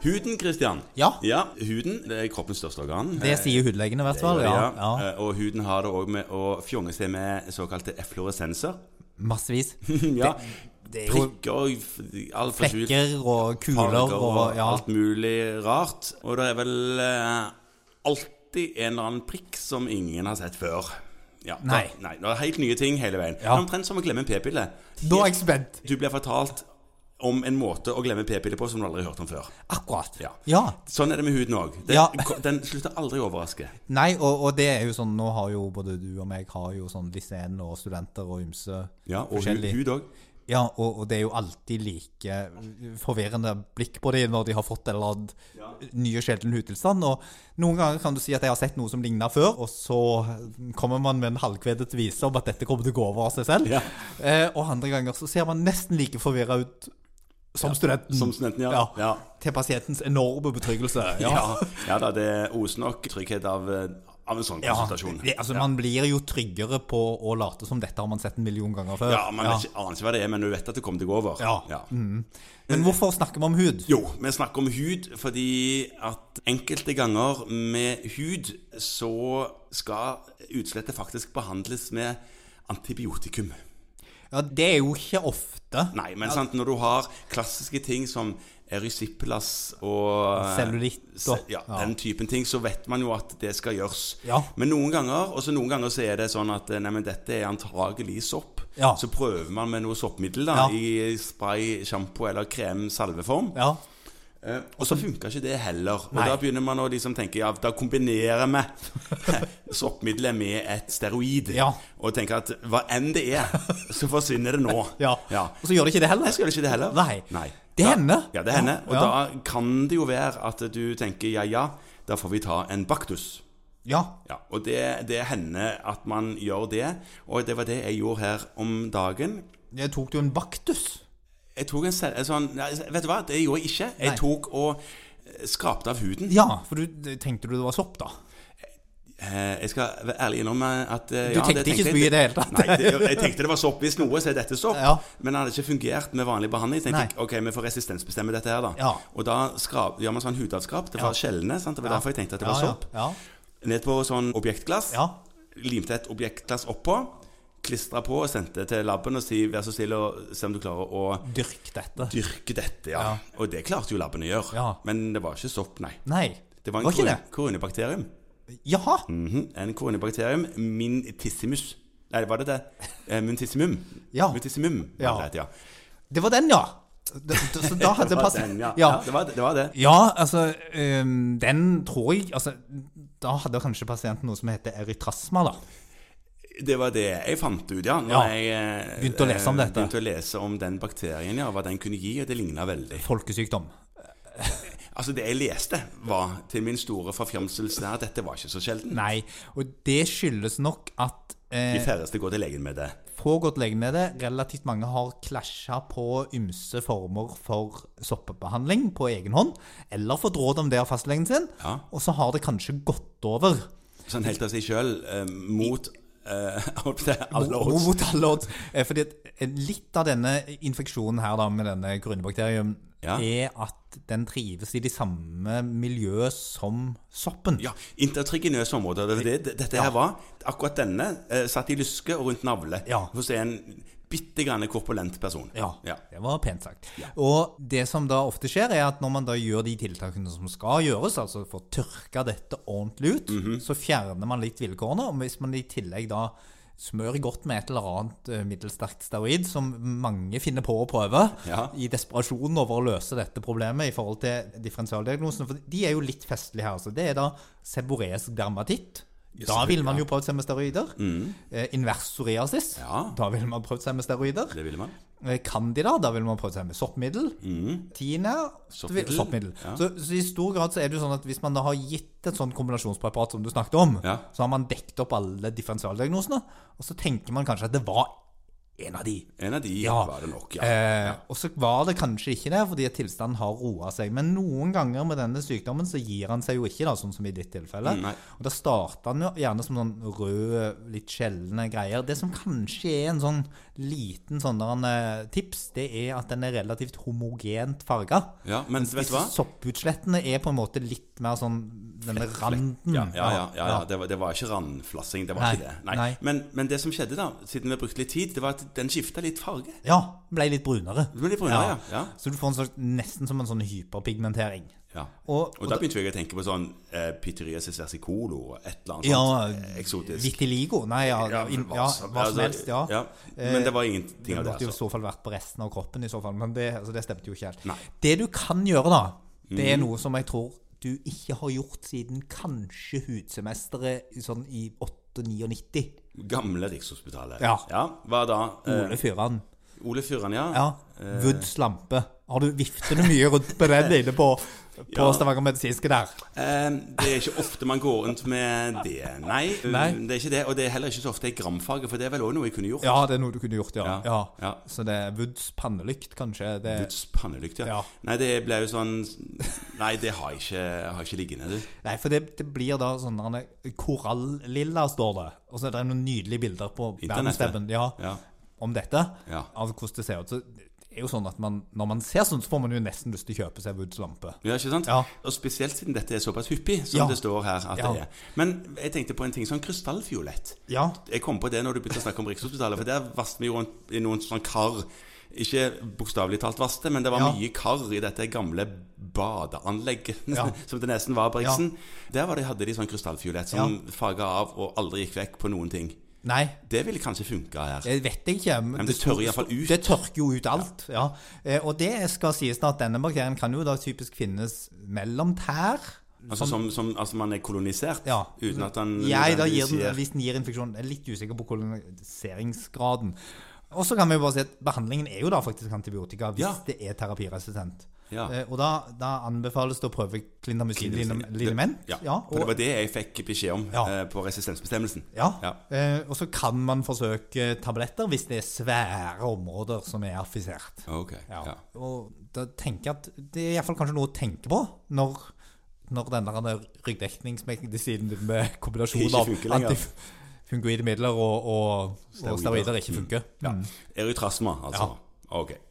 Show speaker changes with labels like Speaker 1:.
Speaker 1: Huden, Christian.
Speaker 2: Ja.
Speaker 1: huden det er kroppens største organ.
Speaker 2: Det sier hudlegene i hvert fall. Ja. ja.
Speaker 1: Eh, Og huden har det òg med å fjonge seg med såkalte effloresenser.
Speaker 2: Massevis.
Speaker 1: ja.
Speaker 2: Det er jo
Speaker 1: Prikker og f- all forskjell-
Speaker 2: flekker og kuler
Speaker 1: farger
Speaker 2: og ja.
Speaker 1: alt mulig rart. Og det er vel eh, alltid en eller annen prikk som ingen har sett før. Ja,
Speaker 2: Nei.
Speaker 1: Da, nei det er helt nye ting hele veien.
Speaker 2: Ja.
Speaker 1: Det er Omtrent som å glemme en p-pille.
Speaker 2: Nå er jeg spent.
Speaker 1: Du blir fortalt om en måte å glemme p-pille på som du aldri har hørt om før.
Speaker 2: Akkurat.
Speaker 1: Ja.
Speaker 2: Ja.
Speaker 1: Sånn er det med huden òg. Den,
Speaker 2: Ja.
Speaker 1: den slutter aldri å overraske.
Speaker 2: Nei, og, og det er jo sånn Nå har jo både du og meg har jo sånn liseen og studenter og ymse
Speaker 1: Ja, og hud-
Speaker 2: forskjellig.
Speaker 1: hud òg.
Speaker 2: Ja, og, og det er jo alltid like forvirrende blikk på dem når de har fått en eller annen ny og sjelden hudtilstand. Og noen ganger kan du si at jeg har sett noe som ligner før, og så kommer man med en halvkvedet vise om at dette kommer til å gå over av seg selv.
Speaker 1: Ja.
Speaker 2: Eh, og andre ganger så ser man nesten like forvirra ut som studenten.
Speaker 1: Som studenten, ja. Ja.
Speaker 2: Til pasientens enorme betryggelse.
Speaker 1: Ja. ja da, det oser nok trygghet av, eh, av en sånn
Speaker 2: Ja,
Speaker 1: konsultasjon.
Speaker 2: det- altså Man blir jo tryggere på å late som dette har man sett en million ganger før.
Speaker 1: Ja, Man vet ikke- aner ikke hva det er, men du vet at det kommer til å gå over.
Speaker 2: Ja. Mm. Men hvorfor snakker vi om hud?
Speaker 1: Jo, vi snakker om hud fordi at enkelte ganger med hud så skal utslettet faktisk behandles med antibiotikum.
Speaker 2: Ja, Det er jo ikke ofte.
Speaker 1: Nei, men sant, når du har klassiske ting som erysipelas og
Speaker 2: Cellulitt og-
Speaker 1: Eh, Se- ja,
Speaker 2: ja.
Speaker 1: den typen ting, så vet man jo at det skal gjøres.
Speaker 2: Ja.
Speaker 1: Men noen ganger, og så noen ganger så er det sånn at eh, nei, men dette er antagelig sopp.
Speaker 2: Ja.
Speaker 1: Så prøver man med noe soppmiddel da,
Speaker 2: Ja.
Speaker 1: i spray, sjampo eller krem-salveform.
Speaker 2: Ja.
Speaker 1: Eh, Og så funka ikke det heller. Og
Speaker 2: Nei.
Speaker 1: da begynner man å liksom tenke ja, da kombinerer vi soppmiddelet med et steroid.
Speaker 2: Ja.
Speaker 1: Og tenker at hva enn det er, så forsvinner det nå.
Speaker 2: ja.
Speaker 1: Ja.
Speaker 2: Og så gjør det ikke det heller.
Speaker 1: Nei, så gjør det ikke det heller.
Speaker 2: Nei.
Speaker 1: Nei.
Speaker 2: Det
Speaker 1: Da-
Speaker 2: hender.
Speaker 1: Ja, det hender. Og
Speaker 2: Ja.
Speaker 1: da kan det jo være at du tenker ja, ja, da får vi ta en baktus.
Speaker 2: Ja.
Speaker 1: Ja, og det, det hender at man gjør det. Og det var det jeg gjorde her om dagen.
Speaker 2: Jeg tok jo en baktus.
Speaker 1: Jeg tok en ser- en sånn nei, Vet du hva, det gjorde jeg ikke. Jeg
Speaker 2: Nei.
Speaker 1: tok og eh, skrapte av huden.
Speaker 2: Ja, for du tenkte du det var sopp, da?
Speaker 1: Eh, Jeg skal være ærlig innrømme at eh,
Speaker 2: Du tenkte
Speaker 1: det
Speaker 2: ikke så mye i det hele tatt.
Speaker 1: Nei, det, jeg tenkte det var sopp. Hvis noe, så er dette sopp.
Speaker 2: Ja.
Speaker 1: Men det hadde ikke fungert med vanlig behandling. Jeg tenkte
Speaker 2: Nei.
Speaker 1: ok, vi får resistensbestemme dette her, da.
Speaker 2: Ja.
Speaker 1: Og da skrap, gjør man sånn hudavskrap. Det var skjellende. sant? Det var derfor jeg tenkte at det
Speaker 2: Ja,
Speaker 1: var
Speaker 2: ja,
Speaker 1: sopp.
Speaker 2: ja.
Speaker 1: Ned på sånn objektglass.
Speaker 2: Ja.
Speaker 1: Limte et objektglass oppå. Klistra på og sendte det til laben og si vær så snill og se om du klarer å
Speaker 2: Dyrk dette.
Speaker 1: dyrke dette. ja.
Speaker 2: Ja.
Speaker 1: Og det klarte jo laben å gjøre.
Speaker 2: Ja.
Speaker 1: Men det var ikke sopp, nei.
Speaker 2: Nei.
Speaker 1: Det var en
Speaker 2: ikke
Speaker 1: kor-
Speaker 2: det?
Speaker 1: koronibakterium.
Speaker 2: Jaha.
Speaker 1: Mhm, En koronibakterium, mintissimus. Nei, var det det? Eh, Muntissimum.
Speaker 2: Ja.
Speaker 1: Muntissimum,
Speaker 2: Ja.
Speaker 1: var det det, ja.
Speaker 2: Det var den, ja. D- d- Så da
Speaker 1: Det
Speaker 2: hadde det
Speaker 1: var
Speaker 2: passet.
Speaker 1: den, ja.
Speaker 2: Ja.
Speaker 1: ja det, var, det var det.
Speaker 2: Ja, altså øhm, Den tror jeg altså, Da hadde kanskje pasienten noe som heter eritrasma, da.
Speaker 1: Det var det jeg fant ut, ja. Når
Speaker 2: Ja.
Speaker 1: jeg eh,
Speaker 2: Begynte å lese om
Speaker 1: eh,
Speaker 2: dette.
Speaker 1: Begynte å lese om den bakterien, ja, hva den kunne gi, og det ligna veldig.
Speaker 2: Folkesykdom.
Speaker 1: Altså, det jeg leste, var til min store forfjamselse at dette var ikke så sjelden.
Speaker 2: Nei. Og det skyldes nok at
Speaker 1: De
Speaker 2: eh,
Speaker 1: færreste går til legen med det.
Speaker 2: få godt legemiddel. Relativt mange har klasja på ymse former for soppbehandling på egen hånd, eller fått råd om det av fastlegen sin,
Speaker 1: Ja.
Speaker 2: og så har det kanskje gått over.
Speaker 1: Sånn helt av seg sjøl, eh, mot eh, holdt på å si, alle
Speaker 2: Mot
Speaker 1: odds.
Speaker 2: mot alle odds. Eh, Fordi at, eh, litt av denne infeksjonen her da, med denne grunnbakterien
Speaker 1: Ja.
Speaker 2: er at den trives i de samme miljø som soppen.
Speaker 1: Ja, intertriginøse områder. Det, var det, det- dette her var akkurat denne eh, satt i lyske og rundt navle
Speaker 2: Ja.
Speaker 1: hos en bitte grann korpulent person.
Speaker 2: Ja,
Speaker 1: Ja.
Speaker 2: det var pent sagt. Og det som da ofte skjer, er at når man da gjør de tiltakene som skal gjøres, altså for å tørke dette ordentlig ut,
Speaker 1: Mhm.
Speaker 2: så fjerner man litt vilkårene. Og hvis man i tillegg da smører godt med et eller annet eh, middelsterkt steroid, som mange finner på å prøve,
Speaker 1: Ja.
Speaker 2: i desperasjon over å løse dette problemet i forhold til differensialdiagnosene, for de er jo litt festlige her. Altså. Det er da seborreisk dermatitt. Da
Speaker 1: selvfølgelig,
Speaker 2: ville man jo prøvd seg med steroider. Eh, Invers psoriasis.
Speaker 1: Mhm. Ja.
Speaker 2: Da ville man prøvd seg med steroider.
Speaker 1: Det ville man.
Speaker 2: Eh, Candida, da vil man prøve seg med soppmiddel. Tina
Speaker 1: Mm. Soppmiddel,
Speaker 2: soppmiddel.
Speaker 1: ja.
Speaker 2: Så, så i stor grad så er det jo sånn at hvis man da har gitt et sånt kombinasjonspreparat som du snakket om,
Speaker 1: Ja.
Speaker 2: så har man dekt opp alle differensialdiagnosene, og så tenker man kanskje at det var en av de.
Speaker 1: En av de
Speaker 2: Ja.
Speaker 1: var det nok, ja.
Speaker 2: Eh, og så var det kanskje ikke det, fordi at tilstanden har roa seg. Men noen ganger med denne sykdommen så gir han seg jo ikke, da, sånn som i ditt tilfelle.
Speaker 1: Mm, nei.
Speaker 2: og da starter han jo gjerne som sånn røde, litt skjelne greier. Det som kanskje er en sånn liten sånn der, eh, tips, det er at den er relativt homogent farga.
Speaker 1: ja. Men vet du hva?
Speaker 2: Sopputslettene er på en måte litt mer sånn denne randen.
Speaker 1: Ja, ja, ja, ja, ja. Det, var, det var ikke randflassing. Det var
Speaker 2: Nei,
Speaker 1: ikke det. Nei.
Speaker 2: nei.
Speaker 1: Men, men det som skjedde, da, siden vi brukte litt tid, det var at den skifta litt farge.
Speaker 2: Ja, ble litt brunere.
Speaker 1: Det ble litt brunere, ja. ja.
Speaker 2: Så du får en slags, nesten som en sånn hyperpigmentering.
Speaker 1: ja.
Speaker 2: Og-
Speaker 1: Og, da begynte jeg å tenke på sånn eh, Pityriasis versicolo og et eller annet
Speaker 2: Ja,
Speaker 1: sånt eh, eksotisk.
Speaker 2: Vitiligo? Nei, ja, ja,
Speaker 1: men
Speaker 2: ja, hva som
Speaker 1: altså,
Speaker 2: helst, ja.
Speaker 1: Men det var ingenting
Speaker 2: Det
Speaker 1: av det.
Speaker 2: måtte jo i
Speaker 1: Altså.
Speaker 2: så fall vært på resten av kroppen, i så fall, men det, altså, det stemte jo ikke helt.
Speaker 1: Nei.
Speaker 2: Det du kan gjøre, da, det er noe som jeg tror du ikke har gjort siden kanskje hudsemesteret i sånn i 8-99.
Speaker 1: Gamle Rikshospitalet.
Speaker 2: Ja.
Speaker 1: Hva da? Eh,
Speaker 2: Ole Fyran.
Speaker 1: Ole Fyran, ja.
Speaker 2: Ja. Woods lampe. Har du viftet du mye rundt med den inne på, på
Speaker 1: Ja.
Speaker 2: Stavanger medisinske der?
Speaker 1: Eh, det er ikke ofte man går rundt med det. Nei, Mm,
Speaker 2: Nei.
Speaker 1: det er ikke det. Og det er heller ikke så ofte i gramfaget, for det er vel òg noe jeg kunne gjort.
Speaker 2: Ja, det er noe du kunne gjort, ja.
Speaker 1: Ja,
Speaker 2: ja.
Speaker 1: ja.
Speaker 2: Så det er Woods pannelykt, kanskje? Det,
Speaker 1: Guds pannelykt, ja.
Speaker 2: Ja.
Speaker 1: Nei, det ble jo sånn Nei, det har jeg ikke, jeg har ikke liggende, du.
Speaker 2: Nei, for det, det blir da sånn derne- korallilla, står det. Og så er det noen nydelige bilder på
Speaker 1: Internettet.
Speaker 2: verdenssteppen ja,
Speaker 1: Ja.
Speaker 2: om dette.
Speaker 1: Ja.
Speaker 2: Av hvordan det ser ut. Så det er jo sånn at man, Når man ser sånn, så får man jo nesten lyst til å kjøpe seg Woods lampe.
Speaker 1: Ja, ikke sant?
Speaker 2: Ja.
Speaker 1: Og spesielt siden dette er såpass hyppig som
Speaker 2: Ja.
Speaker 1: det står her at
Speaker 2: Ja.
Speaker 1: det er. Men jeg tenkte på en ting sånn krystallfiolett.
Speaker 2: Ja.
Speaker 1: Jeg kom på det når du begynte å snakke om Rikshospitalet, for der vasste vi jo rundt i noen sånn kar. Ikke bokstavelig talt vaste, men det var
Speaker 2: Ja.
Speaker 1: mye kar i dette gamle badeanlegget
Speaker 2: Ja.
Speaker 1: som det nesten var, Briksen. Der var det, hadde de sånn krystallfiolett som faga av og aldri gikk vekk på noen ting.
Speaker 2: Nei,
Speaker 1: Det ville kanskje funka her.
Speaker 2: det vet jeg ikke. Men
Speaker 1: det tørker i hvert fall ut.
Speaker 2: Det tørker jo ut alt. ja. Eh, Og det skal sies da at denne bakterien kan jo da typisk finnes mellom tær.
Speaker 1: Altså som, som altså man er kolonisert
Speaker 2: Ja.
Speaker 1: uten at han
Speaker 2: Jeg, da gir den,
Speaker 1: sier-
Speaker 2: hvis den gir infeksjon, jeg er litt usikker på koloniseringsgraden. Og så kan vi jo bare si at behandlingen er jo da faktisk antibiotika hvis
Speaker 1: Ja.
Speaker 2: det er terapiresistent.
Speaker 1: Ja.
Speaker 2: Eh, og da, da anbefales det å prøve klintamycin-liniment.
Speaker 1: Ja. for det
Speaker 2: og,
Speaker 1: var det jeg fikk beskjed om
Speaker 2: Ja.
Speaker 1: eh, på resistensbestemmelsen.
Speaker 2: ja.
Speaker 1: Ja.
Speaker 2: Eh, og så kan man forsøke tabletter hvis det er svære områder som er affisert.
Speaker 1: Ok,
Speaker 2: Ja.
Speaker 1: ja.
Speaker 2: Og da tenker jeg at det er i hvert fall kanskje noe å tenke på når, når denne her ryggdekningsmedisinen med kombinasjon
Speaker 1: Ikke
Speaker 2: av
Speaker 1: funker lenger. Mm.
Speaker 2: antifungoide midler og, og, og steroider ikke funker.
Speaker 1: Erytrasma, altså.
Speaker 2: Ja.
Speaker 1: Ok.